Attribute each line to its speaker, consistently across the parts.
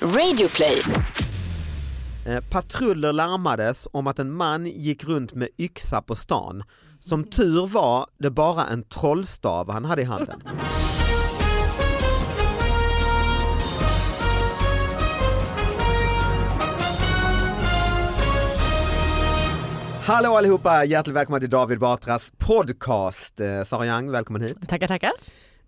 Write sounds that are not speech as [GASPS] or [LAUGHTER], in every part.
Speaker 1: Radioplay.
Speaker 2: Eh, Patruller larmades om att en man gick runt med yxa på stan. Som tur var det bara en trollstav han hade i handen. Hallå allihopa, hjärtligt välkomna till David Batras podcast. Eh, Sara Young, välkommen hit.
Speaker 3: Tackar, tackar.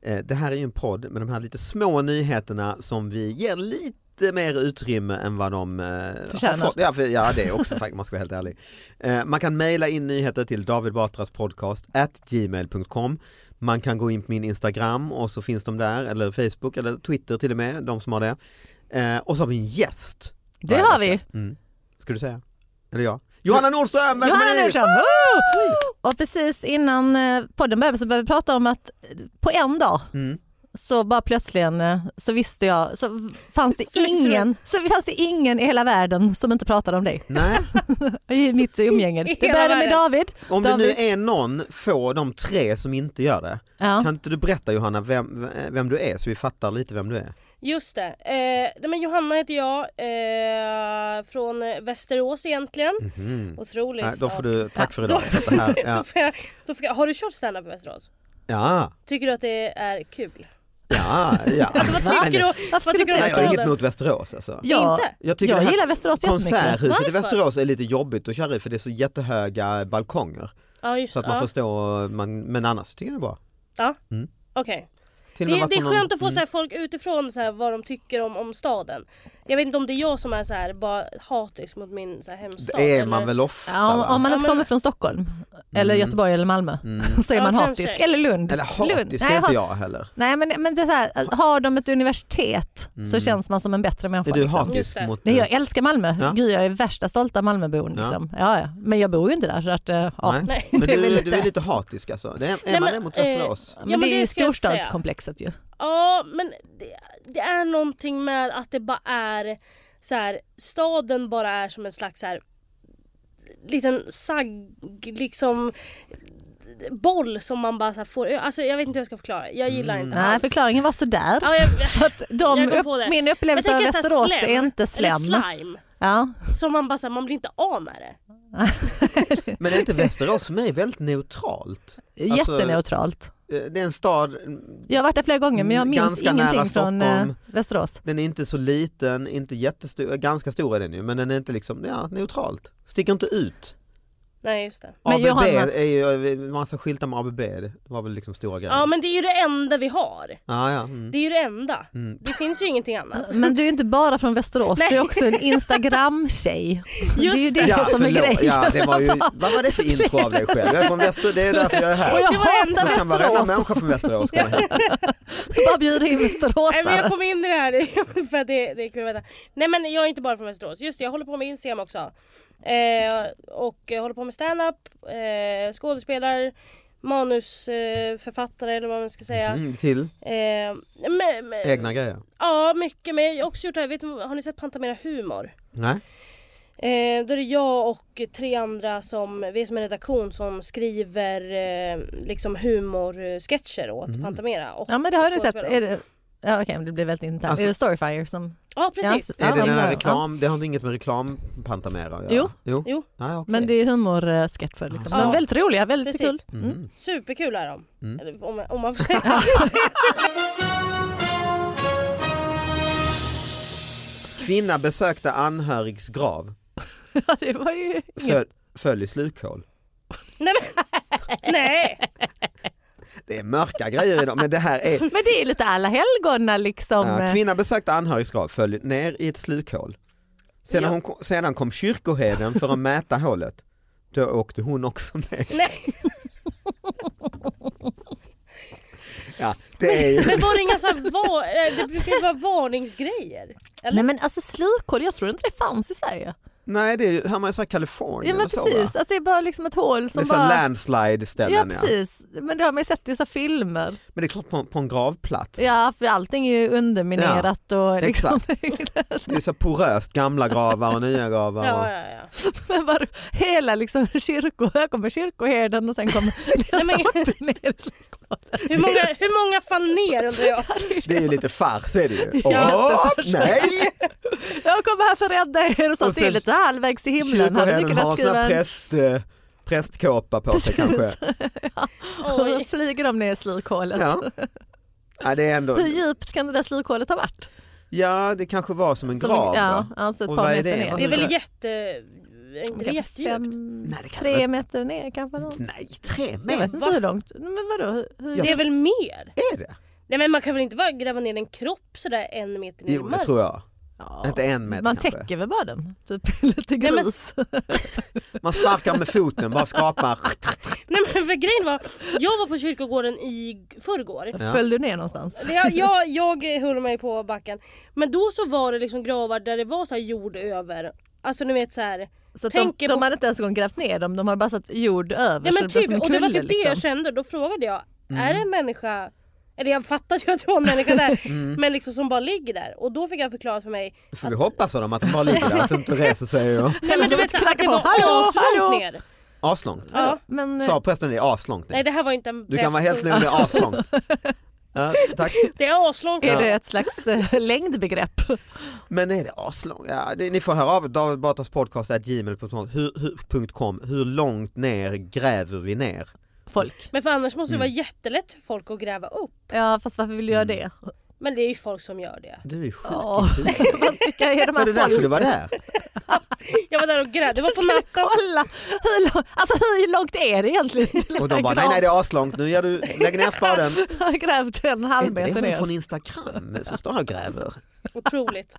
Speaker 2: Eh, Det här är ju en podd med de här lite små nyheterna som vi ger lite mer utrymme än vad de eh,
Speaker 3: Förtjänar.
Speaker 2: har fått. Ja, för, ja, det är också faktiskt, man ska vara helt ärlig. Eh, man kan mejla in nyheter till David Batras podcast at gmail.com. Man kan gå in på min Instagram och så finns de där, eller Facebook eller Twitter till och med, de som har det. Eh, och så har vi en gäst.
Speaker 3: Det
Speaker 2: varje
Speaker 3: har
Speaker 2: vecka. Mm. Ska du säga? Eller jag? Johanna Nordström! välkommen hit!
Speaker 3: Johanna Nordström! woo! Och precis innan eh, podden började så började vi prata om att eh, på en dag
Speaker 2: Mm.
Speaker 3: så bara plötsligen eh, så visste jag, så fanns det,
Speaker 4: Så visste du.
Speaker 3: ingen, så fanns det ingen i hela världen som inte pratade om dig [LAUGHS]
Speaker 2: Nej,
Speaker 3: i mitt umgänge. Det
Speaker 4: hela
Speaker 3: började med
Speaker 4: världen.
Speaker 3: David.
Speaker 2: om det nu
Speaker 3: David.
Speaker 2: är någon, få de tre som inte gör det.
Speaker 3: Ja.
Speaker 2: Kan inte du berätta Johanna vem, vem du är så vi fattar lite vem du är?
Speaker 4: Just det. Eh, nej, men Johanna heter jag, eh, från eh, Västerås egentligen. Otroligt.
Speaker 2: Mm. Nej, då får
Speaker 4: stad.
Speaker 2: du, tack för
Speaker 4: Då-
Speaker 2: idag. För att det här, ja.
Speaker 4: då får jag, då får jag, har du kört standup i Västerås?
Speaker 2: ja,
Speaker 4: Tycker du att det är kul?
Speaker 2: ja, ja. [LAUGHS]
Speaker 4: Alltså, Vad tycker du, vad
Speaker 3: skulle
Speaker 4: tycker du om
Speaker 2: Nej, jag har
Speaker 4: Västerås?
Speaker 2: inget mot Västerås alltså.
Speaker 3: Jag,
Speaker 4: Inte?
Speaker 2: Jag tycker
Speaker 3: jag
Speaker 2: det här
Speaker 3: gillar Västerås jättemycket.
Speaker 2: konserthuset i
Speaker 4: Varför?
Speaker 2: Västerås är lite jobbigt att köra i för det är så jättehöga balkonger.
Speaker 4: Ja, just
Speaker 2: Så att man
Speaker 4: ja.
Speaker 2: förstår, man, men annars tycker jag det är bra.
Speaker 4: Ja.
Speaker 2: Mm.
Speaker 4: Okej.
Speaker 2: Till och med
Speaker 4: Det,
Speaker 2: varit
Speaker 4: det är
Speaker 2: på någon-
Speaker 4: skönt att få
Speaker 2: mm.
Speaker 4: så här, folk utifrån så här, vad de tycker om, om staden. Jag vet inte om det är jag som är så här, bara hatisk mot min så här, hemstad.
Speaker 2: Det är
Speaker 4: eller-
Speaker 2: man väl ofta
Speaker 3: Ja, om, om
Speaker 2: va?
Speaker 3: man
Speaker 4: Ja,
Speaker 3: inte
Speaker 4: men-
Speaker 3: kommer från Stockholm eller Göteborg eller Malmö [LAUGHS] så är
Speaker 4: Ja,
Speaker 3: man
Speaker 4: kanske.
Speaker 3: hatisk. Eller Lund.
Speaker 2: Eller
Speaker 3: Lund.
Speaker 2: hatisk
Speaker 3: Nej,
Speaker 2: är inte
Speaker 3: hat-
Speaker 2: jag heller.
Speaker 3: Nej men, men det är så här, har de ett universitet så känns man som en bättre människa.
Speaker 2: Är Mm. du
Speaker 3: liksom.
Speaker 4: Just
Speaker 2: hatisk
Speaker 4: det.
Speaker 2: mot...
Speaker 3: Nej jag älskar Malmö,
Speaker 2: Ja.
Speaker 3: Gud, jag är värsta stolta Malmöbon.
Speaker 2: Ja.
Speaker 3: Liksom. Ja, ja. Men jag bor ju inte där så att, eh, ja.
Speaker 2: Nej.
Speaker 4: Nej.
Speaker 2: Men
Speaker 3: Det är
Speaker 2: du,
Speaker 3: väl
Speaker 2: är
Speaker 3: lite-
Speaker 2: du är lite hatisk alltså? Det är, är
Speaker 4: Nej,
Speaker 2: man
Speaker 4: men,
Speaker 2: det mot
Speaker 4: eh,
Speaker 2: Västerås?
Speaker 3: Men,
Speaker 4: Ja, men
Speaker 3: det är ju
Speaker 4: det ska jag säga.
Speaker 3: storstadskomplexet ju.
Speaker 4: Ja men det, det är någonting med att det bara är så här, staden bara är som en slags så här, liten sagg liksom boll som man bara så här får, alltså jag vet inte hur jag ska förklara, jag gillar inte
Speaker 3: Mm. Nej,
Speaker 4: alls.
Speaker 3: förklaringen var sådär.
Speaker 4: Ja,
Speaker 3: [LAUGHS]
Speaker 4: jag,
Speaker 3: För att de,
Speaker 4: Jag kom på
Speaker 3: upp,
Speaker 4: det.
Speaker 3: min
Speaker 4: jag
Speaker 3: upplevelse av
Speaker 4: tänker så här
Speaker 3: Västerås
Speaker 4: slem,
Speaker 3: är inte
Speaker 4: Eller
Speaker 3: slem.
Speaker 4: slime,
Speaker 3: Ja.
Speaker 4: som man bara så här, man blir inte av med det.
Speaker 2: Men är inte Västerås för mig väldigt neutralt? Alltså-
Speaker 3: Jätteneutralt.
Speaker 2: Eh, Det är en stad,
Speaker 3: Jag har varit där flera gånger men jag
Speaker 2: Mm,
Speaker 3: minns
Speaker 2: ganska nära
Speaker 3: ingenting från eh,
Speaker 2: Stockholm.
Speaker 3: Västerås.
Speaker 2: den är inte så liten, inte jättestor, eh, ganska stor är den ju, men den är inte liksom, ja, neutralt. Sticker inte ut.
Speaker 4: Nej just det.
Speaker 3: Men
Speaker 2: ABB
Speaker 3: Johanna-
Speaker 2: är ju eh, massa skyltar med ABB, det var väl liksom stora grejer.
Speaker 4: Ja men det är ju det enda vi har.
Speaker 2: Ja, ja. Mm.
Speaker 4: Det är ju det enda.
Speaker 2: Mm.
Speaker 4: Det finns ju ingenting annat.
Speaker 3: Men du är inte bara från Västerås, du är
Speaker 4: Nej.
Speaker 3: också en Instagram-tjej. Det är ju
Speaker 4: Just
Speaker 3: det
Speaker 2: Ja,
Speaker 3: som är
Speaker 2: förlåt.
Speaker 3: grejen.
Speaker 2: Ja, det
Speaker 3: [LAUGHS]
Speaker 2: var ju, vad var det för intro av dig själv? Jag är från Väster, det är därför jag är
Speaker 3: Och
Speaker 2: här.
Speaker 3: jag
Speaker 4: Det var
Speaker 3: hatar
Speaker 4: ändå-
Speaker 2: Man kan varenda
Speaker 3: Västerås.
Speaker 2: människa från Västerås
Speaker 3: [LAUGHS]
Speaker 2: komma hit.
Speaker 3: Bara bjuder in
Speaker 4: Nej, men jag
Speaker 3: västeråsare.
Speaker 4: kom in i det här [LAUGHS] för att det, det är kul att veta. Nej men jag är inte bara från Västerås. Just det, jag håller på med Instagram också. Eh, och jag håller på med standup, eh, skådespelar, manusförfattare eh, författare eller vad man ska säga.
Speaker 2: Mm, till
Speaker 4: Eh, men, men,
Speaker 2: egna grejer.
Speaker 4: Ja, mycket. Men jag har också gjort det här. Vet, du- har ni sett Pantamera Humor?
Speaker 2: Nej?
Speaker 4: Eh, då är det jag och tre andra som, vi är som en redaktion som skriver eh, liksom humorsketcher åt
Speaker 2: Mm.
Speaker 4: Pantamera. Och
Speaker 3: Ja men det har du sett.
Speaker 4: skådespelare.
Speaker 3: Är det... Ja, okej, men det blir väldigt internt.
Speaker 2: Alltså-
Speaker 3: är det Storyfire som...
Speaker 4: Ja precis.
Speaker 3: Ja,
Speaker 2: Är det
Speaker 3: de
Speaker 2: den
Speaker 3: gör-
Speaker 2: här reklam, det har inget med reklampantamera att göra?
Speaker 3: Jo.
Speaker 2: Jo.
Speaker 4: Jo.
Speaker 2: Nej, okej.
Speaker 3: Men det är humorsketch för liksom.
Speaker 4: Ja.
Speaker 3: De är väldigt roliga, väldigt kul.
Speaker 4: Precis.
Speaker 2: Mhm.
Speaker 3: Mm.
Speaker 4: Superkul är de.
Speaker 2: Mm.
Speaker 4: Eller Om,
Speaker 2: [LAUGHS]
Speaker 4: om man får säga.
Speaker 2: Kvinna besökte anhörigs grav,
Speaker 3: [LAUGHS] Ja, det var ju inget.
Speaker 2: föll, föll i slukhål.
Speaker 4: Nej, men, nej.
Speaker 2: Det är mörka grejer idag men det här är
Speaker 3: [LAUGHS] Men det är lite alla helgona liksom.
Speaker 2: Ja, kvinna besökte anhörigsgrav, föll ner i ett slukhål. Sedan,
Speaker 4: Ja.
Speaker 2: hon kom, sedan kom kyrkoherden för att mäta hålet. Då åkte hon också ner.
Speaker 4: nej.
Speaker 2: Ja, det är ju...
Speaker 4: Men var det inga så här, va- eh, det brukar ju vara varningsgrejer. Eller?
Speaker 3: Nej men alltså slukhål, jag tror inte det fanns i Sverige.
Speaker 2: Nej, det är ju, hör man ju så här Kalifornien
Speaker 3: Ja men
Speaker 2: och så,
Speaker 3: precis,
Speaker 2: va?
Speaker 3: alltså, det är bara liksom ett hål
Speaker 2: Det är
Speaker 3: som
Speaker 2: så här
Speaker 3: bara...
Speaker 2: landslide
Speaker 3: Ja
Speaker 2: ställen ja.
Speaker 3: precis, men det har man ju sett i så här filmer.
Speaker 2: Men det är klart på, på en gravplats.
Speaker 3: Ja för allting är ju underminerat och liksom. [LAUGHS]
Speaker 2: Det är så här poröst, gamla gravar och nya gravar. Och...
Speaker 4: Ja, ja, ja.
Speaker 3: [LAUGHS] Men var, hela liksom kyrko, här kommer kyrkoherden och sen
Speaker 2: [LAUGHS]
Speaker 3: kommer nästa
Speaker 4: men-
Speaker 3: upp ner i slukhålet.
Speaker 4: Hur, många, hur många fann ner undrar jag?
Speaker 2: Det är ju lite fars är det ju. Åh,
Speaker 4: Ja.
Speaker 2: nej!
Speaker 3: jag kommer här för att rädda er och så
Speaker 2: Och sen-
Speaker 3: till lite halvvägs i himlen. Hade mycket
Speaker 2: Kyrkoherden
Speaker 3: lätt
Speaker 2: har sån
Speaker 3: skriva
Speaker 2: här
Speaker 3: en-
Speaker 2: präst, eh, prästkåpa på sig kanske.
Speaker 3: Och då
Speaker 4: Oj.
Speaker 3: flyger de ner i slikhålet.
Speaker 2: Ja. Ja, det är ändå,
Speaker 3: Hur djupt kan det där slikhålet ha varit?
Speaker 2: ja, det kanske var som en
Speaker 3: Som-
Speaker 2: grav.
Speaker 3: ja,
Speaker 2: va?
Speaker 3: alltså ett
Speaker 2: Och
Speaker 3: par
Speaker 2: vad är
Speaker 3: meter
Speaker 2: det?
Speaker 3: ner.
Speaker 2: Vad
Speaker 4: Det är
Speaker 2: heter
Speaker 4: väl jätte... Är inte det
Speaker 3: Kanske
Speaker 4: jättedjupt?
Speaker 3: fem-
Speaker 2: Nej, det kan det
Speaker 3: Tre meter ner kanske. någon-
Speaker 2: Nej, tre
Speaker 3: Jag vet
Speaker 2: meter
Speaker 3: inte hur långt. Men vadå? Hur, hur
Speaker 4: Det är väl mer?
Speaker 2: är det?
Speaker 4: Nej men man kan väl inte bara gräva ner en kropp sådär en meter ner i
Speaker 2: Jo, det
Speaker 4: marken?
Speaker 2: tror jag.
Speaker 3: Ja.
Speaker 2: Inte en meter
Speaker 3: Man
Speaker 2: kanske.
Speaker 3: täcker väl bara den, typ [LAUGHS] lite
Speaker 4: Nej, men-
Speaker 3: grus.
Speaker 2: Man sparkar med foten, bara skrapar.
Speaker 3: [LAUGHS]
Speaker 4: Nej men för grejen var, jag var på kyrkogården i förrgår.
Speaker 2: Ja.
Speaker 3: Föll du ner någonstans?
Speaker 4: Det- Jag, jag, jag höll mig på backen. Men då så var det liksom gravar där det var så här jord över. Alltså ni vet så här.
Speaker 3: Så att de,
Speaker 4: Tänker
Speaker 3: de
Speaker 4: på-
Speaker 3: hade inte ens en gång grävt ner dem, de hade bara satt jord över
Speaker 4: Ja,
Speaker 3: så
Speaker 4: men
Speaker 3: det blev som
Speaker 4: typ,
Speaker 3: en
Speaker 4: och det var
Speaker 3: kulle,
Speaker 4: typ det jag
Speaker 3: liksom. Mm.
Speaker 4: kände. Då frågade jag, är det en människa? Eller jag fattade ju att det var en
Speaker 3: [LAUGHS]
Speaker 4: människa där.
Speaker 3: Mm.
Speaker 4: Men liksom som bara ligger där. Och då fick jag förklara för mig.
Speaker 2: Då får vi hoppas av dem att de bara ligger där, att de inte reser sig. Och...
Speaker 4: Nej men du vet så här, att
Speaker 3: Knacka
Speaker 4: det
Speaker 3: på.
Speaker 4: var
Speaker 3: Hallå, hallå.
Speaker 4: aslångt ner.
Speaker 2: Aslångt.
Speaker 4: Ja.
Speaker 3: Men,
Speaker 2: Sa prästen det är aslångt?
Speaker 4: Nej
Speaker 2: ner.
Speaker 4: det här var inte en
Speaker 2: Du kan vara helt
Speaker 4: präst.
Speaker 2: lugn, det är aslångt.
Speaker 3: [LAUGHS]
Speaker 2: Ja, tack.
Speaker 4: Det är aslångt
Speaker 3: är
Speaker 4: ner.
Speaker 3: det ett slags eh, längdbegrepp?
Speaker 2: Men är det aslångt? Ja, det, ni får höra av David Batras podcast at gmail.com. Hur, hur, punkt com. hur långt ner gräver vi ner?
Speaker 3: Folk.
Speaker 4: Men för annars måste det vara
Speaker 3: Mm.
Speaker 4: jättelätt för folk att gräva upp.
Speaker 3: Ja fast varför vill du göra
Speaker 2: Mm.
Speaker 3: det?
Speaker 4: Men det är ju folk som gör det.
Speaker 2: Du är sjuk.
Speaker 3: Ja, fast vilka
Speaker 2: [LAUGHS]
Speaker 3: är de
Speaker 2: Var det
Speaker 3: här
Speaker 2: därför du
Speaker 3: folk?
Speaker 2: var där?
Speaker 4: Jag var där och grävde,
Speaker 3: [LAUGHS]
Speaker 4: det var på
Speaker 3: Ska vi
Speaker 4: natten.
Speaker 3: kolla? Hur, lång- alltså, hur långt är det egentligen? till
Speaker 2: Och
Speaker 3: den
Speaker 2: de
Speaker 3: här
Speaker 2: bara nej nej det är aslångt nu, gör du, lägg ner spaden.
Speaker 3: graven? Jag har grävt en
Speaker 2: Är
Speaker 3: halv
Speaker 2: inte det
Speaker 3: meter
Speaker 2: hon
Speaker 3: ner.
Speaker 2: från Instagram som står här och gräver?
Speaker 4: Otroligt.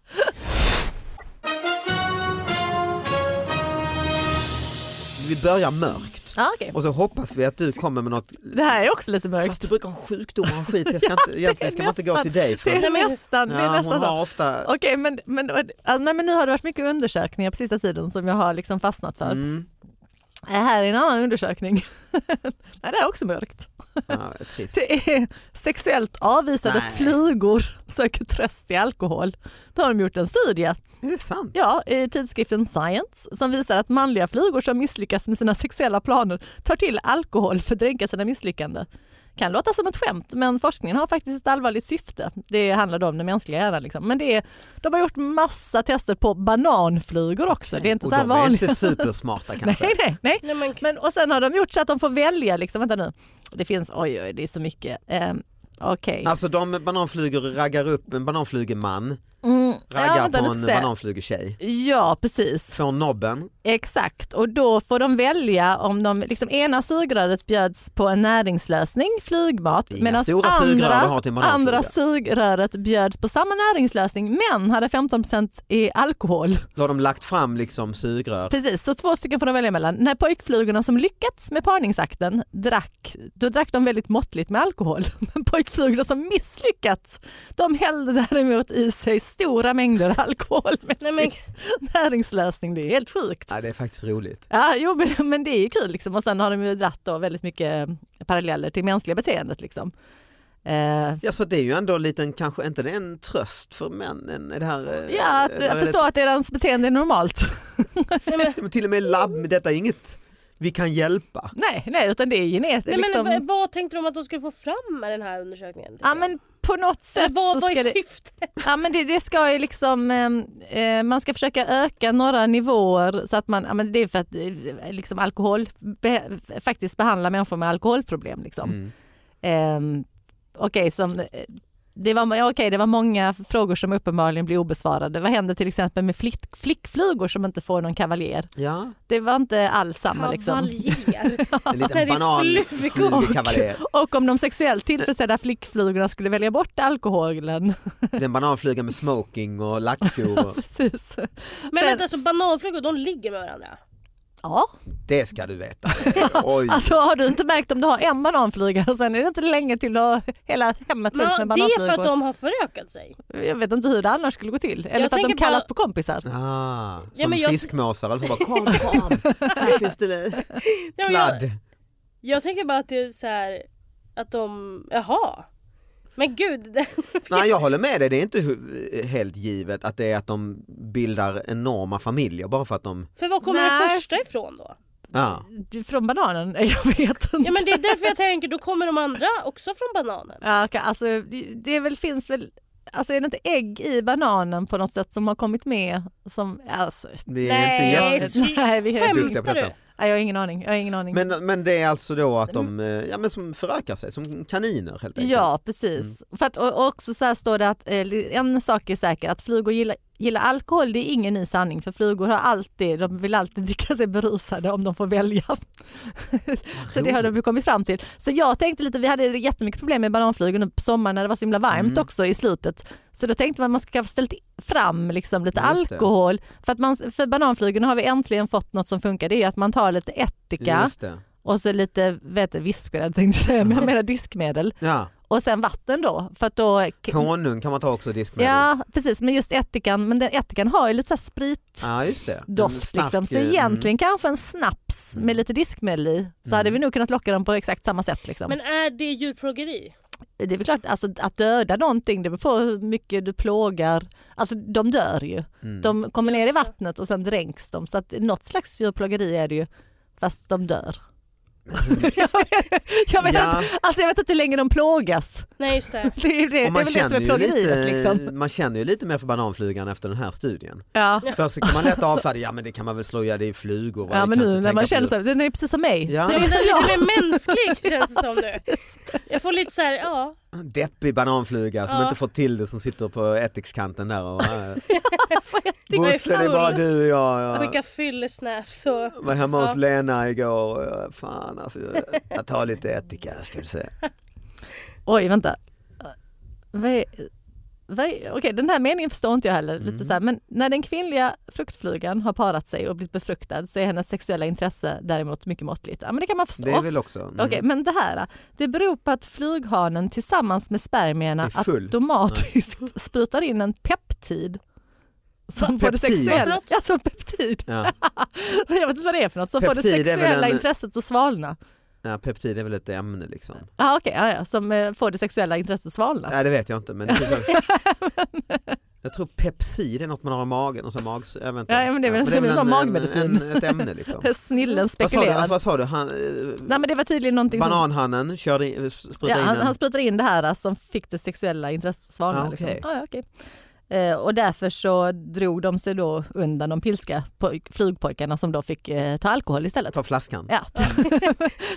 Speaker 2: Vi börjar mörkt
Speaker 3: Ja, okej.
Speaker 2: och så hoppas vi att du kommer med något
Speaker 3: Det här är också lite mörkt.
Speaker 2: Fast du brukar ha sjukdomar och skit, jag ska
Speaker 3: [LAUGHS]
Speaker 2: inte, egentligen ska man inte gå till dig för
Speaker 3: Det är
Speaker 4: Nej, men-
Speaker 3: nästan, det är
Speaker 2: ja,
Speaker 3: nästan
Speaker 2: hon
Speaker 3: så.
Speaker 2: har ofta
Speaker 3: Okej, men, men, alltså, nej, men nu har det varit mycket undersökningar på sista tiden som jag har liksom fastnat för.
Speaker 2: mm,
Speaker 3: Äh, här är en annan undersökning. [LAUGHS] nej, det är också mörkt.
Speaker 2: ja, trist.
Speaker 3: Det är sexuellt avvisade
Speaker 2: Nej.
Speaker 3: flugor söker tröst i alkohol. Då har de gjort en studie
Speaker 2: Är det sant?
Speaker 3: ja, i tidskriften Science som visar att manliga flugor som misslyckas med sina sexuella planer tar till alkohol för att dränka sina misslyckande. Kan låta som ett skämt men forskningen har faktiskt ett allvarligt syfte. Det handlar då om den mänskliga hjärnan. Liksom. Men det är, de har gjort massa tester på bananflugor också. Det är inte
Speaker 2: och
Speaker 3: så här
Speaker 2: de är
Speaker 3: vanligt.
Speaker 2: inte supersmarta kanske.
Speaker 3: [LAUGHS] Nej, nej, nej.
Speaker 4: Nej, men,
Speaker 3: Men, och sen har de gjort så att de får välja. Liksom, vänta nu. Det finns, oj, oj, det är så mycket. Um, Okej.
Speaker 2: Alltså de bananflugor raggar upp en bananflugeman,
Speaker 3: Mm, ja,
Speaker 2: raggar
Speaker 3: vänta, nu
Speaker 2: på
Speaker 3: ska
Speaker 2: en
Speaker 3: jag säga.
Speaker 2: bananflugetjej.
Speaker 3: Ja, precis.
Speaker 2: Får nobben,
Speaker 3: Exakt, och då får de välja om de, liksom ena sugröret bjöds på en näringslösning, flygmat,
Speaker 2: Inga
Speaker 3: medan
Speaker 2: stora sugrör du har
Speaker 3: andra,
Speaker 2: till bananfluga.
Speaker 3: andra sugröret bjöds på samma näringslösning men hade 15 i alkohol.
Speaker 2: då har de lagt fram liksom sugrör.
Speaker 3: Precis, så två stycken får de välja mellan. När pojkflugorna som lyckats med parningsakten drack, då drack de väldigt måttligt med alkohol. [LAUGHS] Men pojkflugorna som misslyckats, de hällde däremot i sig stora mängder alkohol [LAUGHS] med
Speaker 4: nej, men,
Speaker 3: sin näringslösning. Det är helt sjukt.
Speaker 2: Ja, det är faktiskt roligt.
Speaker 3: Ja, jo, men- men det är ju kul. Liksom. Och sen har de ju dratt då väldigt mycket eh, paralleller till mänskliga beteendet. Liksom. Eh,
Speaker 2: Ja, så det är ju ändå en liten, kanske inte det är en tröst för männen? Är det här, eh,
Speaker 3: ja, att
Speaker 2: eller är
Speaker 3: jag
Speaker 2: det-
Speaker 3: förstår att deras beteende är normalt. [LAUGHS]
Speaker 2: Men [LAUGHS] till och med labb, men detta är inget vi kan hjälpa.
Speaker 3: nej, nej, utan det är genetiskt.
Speaker 4: nej,
Speaker 3: liksom,
Speaker 4: men, v- vad tänkte de att de skulle få fram med den här undersökningen?
Speaker 3: ja, men på något sätt
Speaker 4: Eller vad
Speaker 3: så
Speaker 4: var
Speaker 3: ska det,
Speaker 4: syftet?
Speaker 3: ja, men det, det ska ju liksom, eh, eh, man ska försöka öka några nivåer så att man, ja, men det är för att eh, liksom alkohol, be, faktiskt behandla människor med alkoholproblem. Liksom.
Speaker 2: Mm.
Speaker 3: Ehm, Okej, som, eh, det, var, ja, okej, det var många frågor som uppenbarligen blev obesvarade. Vad hände till exempel med flick, flickflugor som inte får någon kavaljer? [LAUGHS]
Speaker 2: Ja,
Speaker 3: Det var inte alls samma. Liksom. [LAUGHS]
Speaker 4: Kavaljer.
Speaker 2: en
Speaker 4: Nej,
Speaker 3: Alltså,
Speaker 2: liten
Speaker 4: det är
Speaker 2: bananflugekavaljer.
Speaker 3: Och om de sexuellt tillfredsställda flickflugorna skulle välja bort alkoholen. [LAUGHS]
Speaker 2: Den bananfluga med smoking och lackskor. och-
Speaker 3: Precis.
Speaker 4: Men
Speaker 3: Sen-
Speaker 4: vänta, så bananflugor de ligger med varandra?
Speaker 3: Ja,
Speaker 2: Det ska du veta. Oj.
Speaker 3: alltså har du inte märkt om du har en bananfluga sen är det inte länge till du har hela hemmet
Speaker 4: Men,
Speaker 3: fullt med
Speaker 4: det är för att
Speaker 3: bananflugor.
Speaker 4: de har förökat sig.
Speaker 3: Jag vet inte hur det annars skulle gå till. Eller
Speaker 4: Jag
Speaker 3: för att de
Speaker 4: tänker
Speaker 3: kallat
Speaker 4: bara-
Speaker 3: på kompisar.
Speaker 2: Ah,
Speaker 4: Ja,
Speaker 2: som
Speaker 4: men jag-
Speaker 2: fiskmåsar, alltså bara kom, kom,
Speaker 3: [LAUGHS]
Speaker 2: här finns det
Speaker 4: Ja, men jag,
Speaker 2: kladd.
Speaker 4: jag tänker bara att det är så här att de, jaha. Men gud, det,
Speaker 2: Nej, jag håller med dig, det är inte hu- helt givet att det är att de bildar enorma familjer bara för att de,
Speaker 4: för var kommer den
Speaker 3: Nej.
Speaker 4: första ifrån då?
Speaker 2: ja.
Speaker 3: Från bananen? [LAUGHS] Jag vet inte.
Speaker 4: Ja men det är därför jag tänker, då kommer de andra också från bananen.
Speaker 3: Ja, okej, alltså, det det väl, finns väl alltså är det inte ägg i bananen på något sätt som har kommit med? Som, alltså,
Speaker 2: Vi är
Speaker 4: Nej,
Speaker 2: inte jätte...
Speaker 4: s-
Speaker 3: nej, vi är,
Speaker 4: skämtar
Speaker 2: duktiga på
Speaker 4: du?
Speaker 2: detta.
Speaker 3: nej, jag har ingen aning. Jag har ingen aning.
Speaker 2: Men, men det är alltså då att de eh, ja, men som förökar sig, som kaniner helt enkelt.
Speaker 3: Mm.
Speaker 2: Mm.
Speaker 3: Ja, precis. För att, och, och också så här står det att eh, en sak är säker, att flugor gillar, gillar alkohol, det är ingen ny sanning för flugor har alltid, de vill alltid [LAUGHS] dricka sig berusade om de får välja. så det har de ju kommit fram till. Så jag tänkte lite, vi hade jättemycket problem med bananflugor nu på sommaren när det var så himla varmt
Speaker 2: Mm.
Speaker 3: också i slutet. Så då tänkte man att man skulle kanske ställa fram liksom lite
Speaker 2: Just det.
Speaker 3: alkohol. För, att man, för bananflugorna har vi äntligen fått något som funkar, det är att man tar lite ättika
Speaker 2: Just det.
Speaker 3: och så lite vet, du, vispgrädde tänkte jag säga, men jag menar diskmedel.
Speaker 2: Ja,
Speaker 3: Och sen vatten då. För att då
Speaker 2: honung kan man ta också i diskmedel.
Speaker 3: ja, precis. Men just ättikan, men den ättikan har ju lite så här spritdoft.
Speaker 2: Ja, just det. En stark,
Speaker 3: liksom. Så
Speaker 2: eh, mm.
Speaker 3: egentligen [LAUGHS] kanske en snaps med lite diskmedel i. Så hade
Speaker 2: Mm.
Speaker 3: vi nog kunnat locka dem på exakt samma sätt. Liksom.
Speaker 4: Men är det djurplågeri?
Speaker 3: Det är väl klart, alltså, att döda någonting det beror på hur mycket du plågar. Alltså de dör ju.
Speaker 2: Mm.
Speaker 3: De kommer ner i
Speaker 4: Just det.
Speaker 3: vattnet och sen dränks de. Så att något slags djurplågeri är det ju. Fast
Speaker 2: [LAUGHS]
Speaker 3: de dör. [LAUGHS] jag, vet,
Speaker 2: Ja.
Speaker 3: alltså, alltså, jag vet inte hur länge de plågas.
Speaker 4: Nej just det.
Speaker 3: Det är, ju det, det
Speaker 2: Och
Speaker 3: är
Speaker 2: man,
Speaker 3: väl det som
Speaker 2: känner
Speaker 3: är
Speaker 2: ju
Speaker 3: plågeriet.
Speaker 2: lite,
Speaker 3: Liksom.
Speaker 2: man känner ju lite mer för bananflugan efter den här studien.
Speaker 3: Ja.
Speaker 2: Först så kan man lätt avfärda, ja men det kan man väl slöja, det är flugor. va?
Speaker 3: Ja
Speaker 2: Det
Speaker 3: men
Speaker 2: kan
Speaker 3: nu
Speaker 2: inte
Speaker 3: när
Speaker 2: tänka
Speaker 3: man
Speaker 2: på
Speaker 3: känner
Speaker 2: det.
Speaker 3: så här, den är precis som mig.
Speaker 2: Ja.
Speaker 3: Det
Speaker 4: Den
Speaker 3: [LAUGHS]
Speaker 4: är
Speaker 3: är som
Speaker 4: lite
Speaker 3: jag.
Speaker 4: mer mänsklig känns det som
Speaker 3: [LAUGHS]
Speaker 4: nu. Jag får lite så här, ja.
Speaker 2: Deppig bananfluga som
Speaker 4: Ja.
Speaker 2: inte fått till det som sitter på ättikskanten där.
Speaker 3: [LAUGHS]
Speaker 2: Och, äh,
Speaker 4: jag är
Speaker 2: Bosse det är
Speaker 4: full.
Speaker 2: bara du och jag. jag
Speaker 4: Skicka fyllesnaps och
Speaker 2: var hemma
Speaker 4: Ja.
Speaker 2: hos Lena igår och jag, fan alltså, jag- jag tar lite ättika ska du se.
Speaker 3: Oj vänta. Vad är, vad är, okej, den här meningen förstår inte jag heller.
Speaker 2: Mm.
Speaker 3: Lite så här, men när den kvinnliga fruktflugan har parat sig och blivit befruktad så är hennes sexuella intresse däremot mycket måttligt. Ja men det kan man förstå.
Speaker 2: Det är väl också. mm.
Speaker 3: Okej, men det här. Det beror på att flughanen tillsammans med spermierna
Speaker 2: Är full.
Speaker 3: automatiskt sprutar in en peptid. Som får det
Speaker 2: Peptid?
Speaker 3: sexuella...
Speaker 4: Vad
Speaker 3: Ja, som peptid. [LAUGHS]
Speaker 2: Ja,
Speaker 3: Jag vet inte vad det är för något. Som får det
Speaker 2: Peptid är väl
Speaker 3: sexuella
Speaker 2: en-
Speaker 3: intresset att svalna.
Speaker 2: ja, peptid är väl ett ämne liksom.
Speaker 3: Ja, Ah, okej, ja, ja, som eh, får det sexuella intresset att svalna.
Speaker 2: Nej det vet jag inte men det
Speaker 3: [LAUGHS]
Speaker 2: finns Jag tror pepsid är något man har i magen och så mags... Jag vet inte.
Speaker 3: Ja, men det är väl- det är väl sån magmedicin.
Speaker 2: En, en, ett ämne liksom.
Speaker 3: [LAUGHS] Snillen
Speaker 2: vad, sa du,
Speaker 3: spekulerar.
Speaker 2: vad sa du? Han, eh,
Speaker 3: Nej, men det var tydligen någonting som...
Speaker 2: bananhannen körde in,
Speaker 3: Ja,
Speaker 2: sprutade
Speaker 3: han,
Speaker 2: in en...
Speaker 3: han sprutade in det här alltså, som fick det sexuella intresset att svalna.
Speaker 2: Ah, okej.
Speaker 3: liksom. ah, ja, okej. Eh, och därför så drog de sig då undan de pilska poj- flugpojkarna som då fick eh, ta alkohol istället.
Speaker 2: Ta flaskan.
Speaker 3: Ja. [LAUGHS]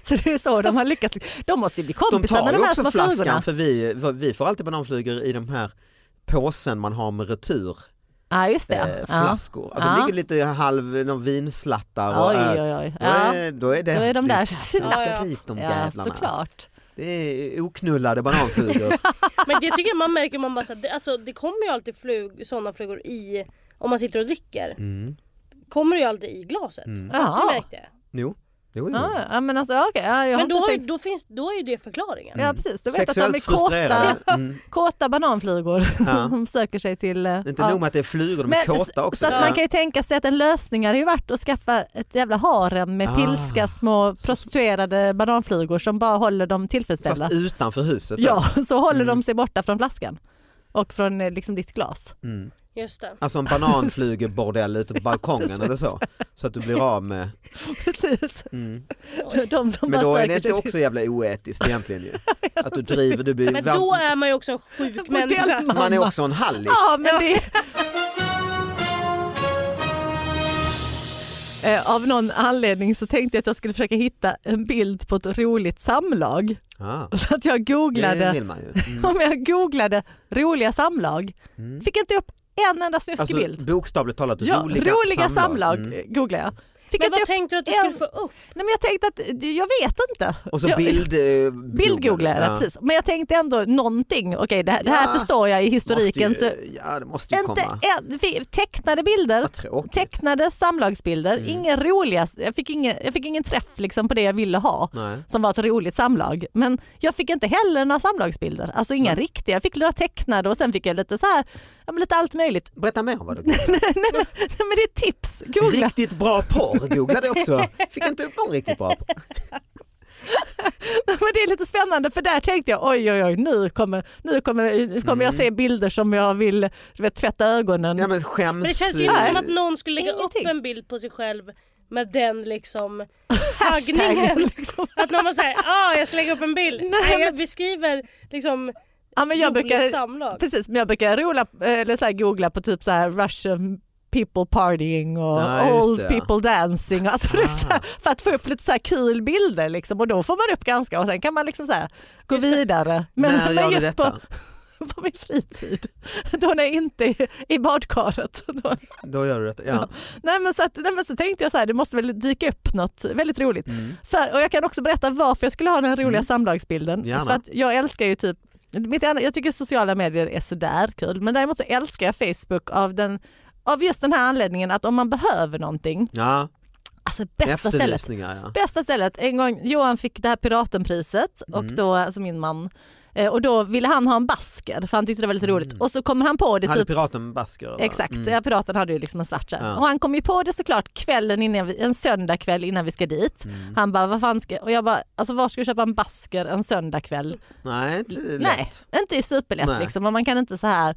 Speaker 3: så det är så de har lyckats. De måste ju bli
Speaker 2: De
Speaker 3: kompisar
Speaker 2: tar
Speaker 3: med
Speaker 2: ju
Speaker 3: de här
Speaker 2: också
Speaker 3: små flugorna.
Speaker 2: flaskan för vi, vi får alltid bananflugor i de här påsen man har med retur.
Speaker 3: Ja, just det.
Speaker 2: eh,
Speaker 3: ja.
Speaker 2: flaskor. Alltså,
Speaker 3: Ja.
Speaker 2: Det ligger lite halv någon vinslattar och
Speaker 3: Oj,
Speaker 2: öl.
Speaker 3: oj, oj.
Speaker 2: Då
Speaker 3: Ja.
Speaker 2: är, då är det
Speaker 3: Då är de
Speaker 2: det
Speaker 3: där
Speaker 2: kaffe och
Speaker 4: snabbt.
Speaker 2: sprit, de
Speaker 3: Ja,
Speaker 2: jävlarna.
Speaker 3: såklart.
Speaker 2: Det är oknullade
Speaker 3: [LAUGHS]
Speaker 2: bananflugor.
Speaker 4: Men det tycker jag man märker, man bara, så här, det, alltså, det kommer ju alltid flug, sådana flugor i, om man sitter och dricker,
Speaker 2: Mm.
Speaker 4: kommer det ju alltid i glaset.
Speaker 3: Ja.
Speaker 4: Du märkte.
Speaker 2: Jo, jo, jo.
Speaker 3: Ja, ja, men alltså, ja, okej, ja, jag har
Speaker 4: Men då,
Speaker 3: inte
Speaker 4: har, ju-
Speaker 3: tänkt...
Speaker 4: då, finns, då är ju det förklaringen.
Speaker 3: Ja, precis. Du vet att de är
Speaker 2: Sexuellt frustrerade.
Speaker 3: kåta,
Speaker 2: Mm.
Speaker 3: kåta bananflugor. [LAUGHS]
Speaker 2: Ja.
Speaker 3: De söker sig till... eh,
Speaker 2: Inte
Speaker 3: ja.
Speaker 2: nog med att det är flugor, de är
Speaker 3: Men-
Speaker 2: kåta också.
Speaker 3: Så att
Speaker 2: Ja.
Speaker 3: man kan ju tänka sig att en lösning hade ju varit att skaffa ett jävla harem med
Speaker 2: Ah.
Speaker 3: pilska små prostituerade bananflugor som bara håller dem tillfredsställda.
Speaker 2: Fast Mm. utanför huset. då.
Speaker 3: Ja, [LAUGHS] så håller de sig borta från flaskan och från eh, liksom ditt glas. [LAUGHS]
Speaker 2: Mm.
Speaker 4: Just det.
Speaker 2: Alltså en bananflugebordell ute på balkongen eller så. Så att du blir av med...
Speaker 3: Precis.
Speaker 2: Mm.
Speaker 4: Oj.
Speaker 3: De som
Speaker 2: Men då är
Speaker 3: bara söker
Speaker 2: det
Speaker 3: sig
Speaker 2: inte också jävla oetiskt egentligen
Speaker 3: [LAUGHS]
Speaker 2: ju. Att du driver, du blir...
Speaker 4: Men då är man ju också en sjuk
Speaker 3: till
Speaker 4: människa.
Speaker 3: bordellmamma.
Speaker 2: Man är också en hallig.
Speaker 3: Ja, men
Speaker 2: [LAUGHS]
Speaker 3: det... Eh, Av någon anledning så tänkte jag att jag skulle försöka hitta en bild på ett roligt samlag.
Speaker 2: Ah,
Speaker 3: Så att jag googlade
Speaker 2: det vill
Speaker 3: [LAUGHS]
Speaker 2: man ju. Mm.
Speaker 3: om jag googlade roliga samlag. Fick inte upp en enda snuskig
Speaker 2: Alltså,
Speaker 3: bild.
Speaker 2: bokstavligt talat,
Speaker 3: Ja,
Speaker 2: Alltså, roliga,
Speaker 3: roliga samlag,
Speaker 2: Mm.
Speaker 3: googlade jag. Fick
Speaker 4: Men
Speaker 3: inte
Speaker 4: vad
Speaker 3: upp,
Speaker 4: tänkte du att du
Speaker 3: en-
Speaker 4: skulle få upp?
Speaker 3: nej men jag tänkte att jag vet inte.
Speaker 2: Och så
Speaker 3: jag, [LAUGHS]
Speaker 2: bild... eh,
Speaker 3: bildgooglade jag,
Speaker 2: Ja.
Speaker 3: precis. Men jag tänkte ändå någonting. Okej, det, här- det här
Speaker 2: Ja.
Speaker 3: förstår jag i
Speaker 2: Måste
Speaker 3: historiken.
Speaker 2: ju,
Speaker 3: Så
Speaker 2: ja, det måste ju
Speaker 3: inte
Speaker 2: komma.
Speaker 3: en, fi- tecknade bilder.
Speaker 2: Vad tråkigt.
Speaker 3: Tecknade samlagsbilder,
Speaker 2: Mm.
Speaker 3: inga roliga, jag fick ingen, jag fick ingen träff liksom på det jag ville ha
Speaker 2: Nej.
Speaker 3: som var ett roligt samlag. Men jag fick inte heller några samlagsbilder, alltså inga riktiga. Jag fick några tecknade och sen fick jag lite så här, ja, men lite allt möjligt. [LAUGHS]
Speaker 2: Berätta mer om vad du
Speaker 3: Nej, men det är tips, googla.
Speaker 2: Riktigt bra porr googlade jag också. Fick inte upp någon riktigt bra porr.
Speaker 3: [LAUGHS] Men det är lite spännande för där tänkte jag oj oj oj nu kommer, nu kommer, nu kommer jag se bilder som jag vill du vet, tvätta ögonen.
Speaker 2: Ja, men skäms...
Speaker 4: Men det känns ju inte som att någon skulle lägga
Speaker 3: Ingenting.
Speaker 4: upp en bild på sig själv med
Speaker 3: [LAUGHS]
Speaker 4: den liksom
Speaker 3: Hashtaggen, [LAUGHS]
Speaker 4: taggningen.
Speaker 3: liksom.
Speaker 4: Att någon bara säger ah jag ska lägga upp en bild.
Speaker 3: Nej,
Speaker 4: Nej, jag
Speaker 3: men-
Speaker 4: beskriver liksom
Speaker 3: Ja, men jag
Speaker 4: roliga
Speaker 3: brukar,
Speaker 4: samlag.
Speaker 3: precis, men jag brukar rola, eller så här, googla på typ så här Russian people partying och
Speaker 2: Ja, just
Speaker 3: old
Speaker 2: det, ja. Ah.
Speaker 3: people dancing. Alltså, du vet, så här, för att få upp lite så här kul bilder liksom, och då får man upp ganska och sen kan man liksom så här, gå
Speaker 4: Just det.
Speaker 3: vidare. Men,
Speaker 2: När
Speaker 3: men
Speaker 2: gör du
Speaker 3: just på,
Speaker 2: detta?
Speaker 3: på [LAUGHS] min fritid, då när jag inte är i badkaret. Då,
Speaker 2: Då gör du detta, ja.
Speaker 3: nej, men så att, nej men så tänkte jag så här, det måste väl dyka upp något väldigt roligt.
Speaker 2: Mm.
Speaker 3: För, och jag kan också berätta varför jag skulle ha den roliga
Speaker 2: Mm.
Speaker 3: samlagsbilden.
Speaker 2: Gärna.
Speaker 3: För att jag älskar ju typ mitt, enda- jag tycker sociala medier är sådär kul men däremot så älskar jag Facebook av, den, av just den här anledningen att om man behöver någonting,
Speaker 2: ja.
Speaker 3: alltså bästa stället,
Speaker 2: Efterlysningar ja.
Speaker 3: bästa stället, en gång Johan fick det här piratenpriset
Speaker 2: Mm.
Speaker 3: och då, alltså min man, eh, och då ville han ha en basker för han tyckte det var lite roligt och så kommer han på det
Speaker 2: Mm. Hade
Speaker 3: typ
Speaker 2: piraten basker? eller?
Speaker 3: Exakt, ja, piraten hade ju liksom en svart skärm.
Speaker 2: Ja.
Speaker 3: Och han kom ju på det såklart kvällen innan vi, en söndagkväll innan vi ska dit. Han bara, vad fan ska... Och jag bara, alltså var ska du köpa en basker en söndagkväll?
Speaker 2: Nej, inte lätt.
Speaker 3: Nej, inte i superlätt
Speaker 2: Nej.
Speaker 3: liksom. Och man kan inte så här...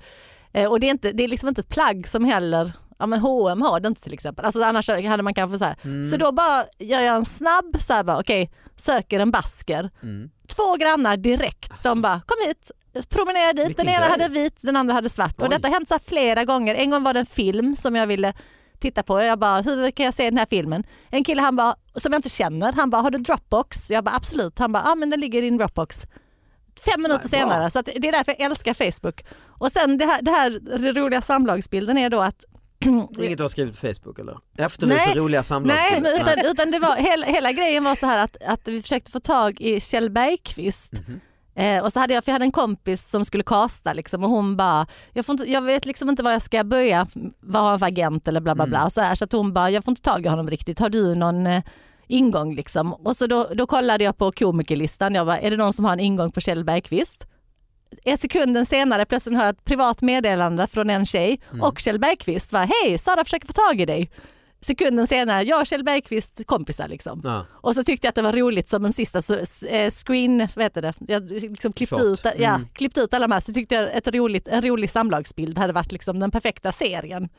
Speaker 3: eh, Och det är, inte, det är liksom inte ett plagg som heller... Ja men H&M har det inte till exempel. Alltså annars hade man kanske så här.
Speaker 2: Mm.
Speaker 3: Så då bara gör jag en snabb så här bara, okej, söker en basker.
Speaker 2: Mm. Alltså.
Speaker 3: Två grannar direkt, de bara kom hit, promenera dit.
Speaker 2: Vilken
Speaker 3: den ena
Speaker 2: grej.
Speaker 3: hade vit, den andra hade svart. Och
Speaker 2: Oj.
Speaker 3: detta har hänt så här flera gånger. En gång var det en film som jag ville titta på. Jag bara, hur kan jag se den här filmen? En kille han bara, som jag inte känner, han bara, har du Dropbox? Jag bara, absolut. Han bara, ja ah, men den ligger i din Dropbox. Fem minuter
Speaker 2: Nej, bra.
Speaker 3: senare, så att det är därför jag älskar Facebook. Och sen det här, det här det roliga samlagsbilden är då att
Speaker 2: Inget du har skrivit på Facebook eller? Efterlyser
Speaker 3: Nej.
Speaker 2: roliga
Speaker 3: Nej,
Speaker 2: samlagsbilder?
Speaker 3: men utan, utan det var, hela, hela grejen var så här att, att vi försökte få tag i Kjell Bergqvist.
Speaker 2: Mhm.
Speaker 3: Eh, och så hade jag, för jag hade en kompis som skulle kasta liksom, och hon bara, jag, får inte, jag vet liksom inte var jag ska börja vara för agent eller bla
Speaker 2: Mm.
Speaker 3: bla bla. Så, här, så att hon bara, jag får inte tag i honom riktigt, har du någon eh, ingång liksom? Och så då, då kollade jag på komikerlistan, jag bara, är det någon som har en ingång på Kjell Bergqvist? En sekunden senare plötsligt hör jag ett privat meddelande från en tjej och Kjell Bergqvist var hej Sara försöker få tag i dig. Sekunden senare, jag och Kjell Bergqvist kompisar liksom.
Speaker 2: Ja.
Speaker 3: Och så tyckte jag att det var roligt som en sista så, eh, screen, vad heter det, jag liksom klippte,
Speaker 2: Shot. Mm.
Speaker 3: ut, ja, klippte ut alla de här så tyckte jag ett roligt, en rolig samlagsbild hade varit liksom den perfekta serien.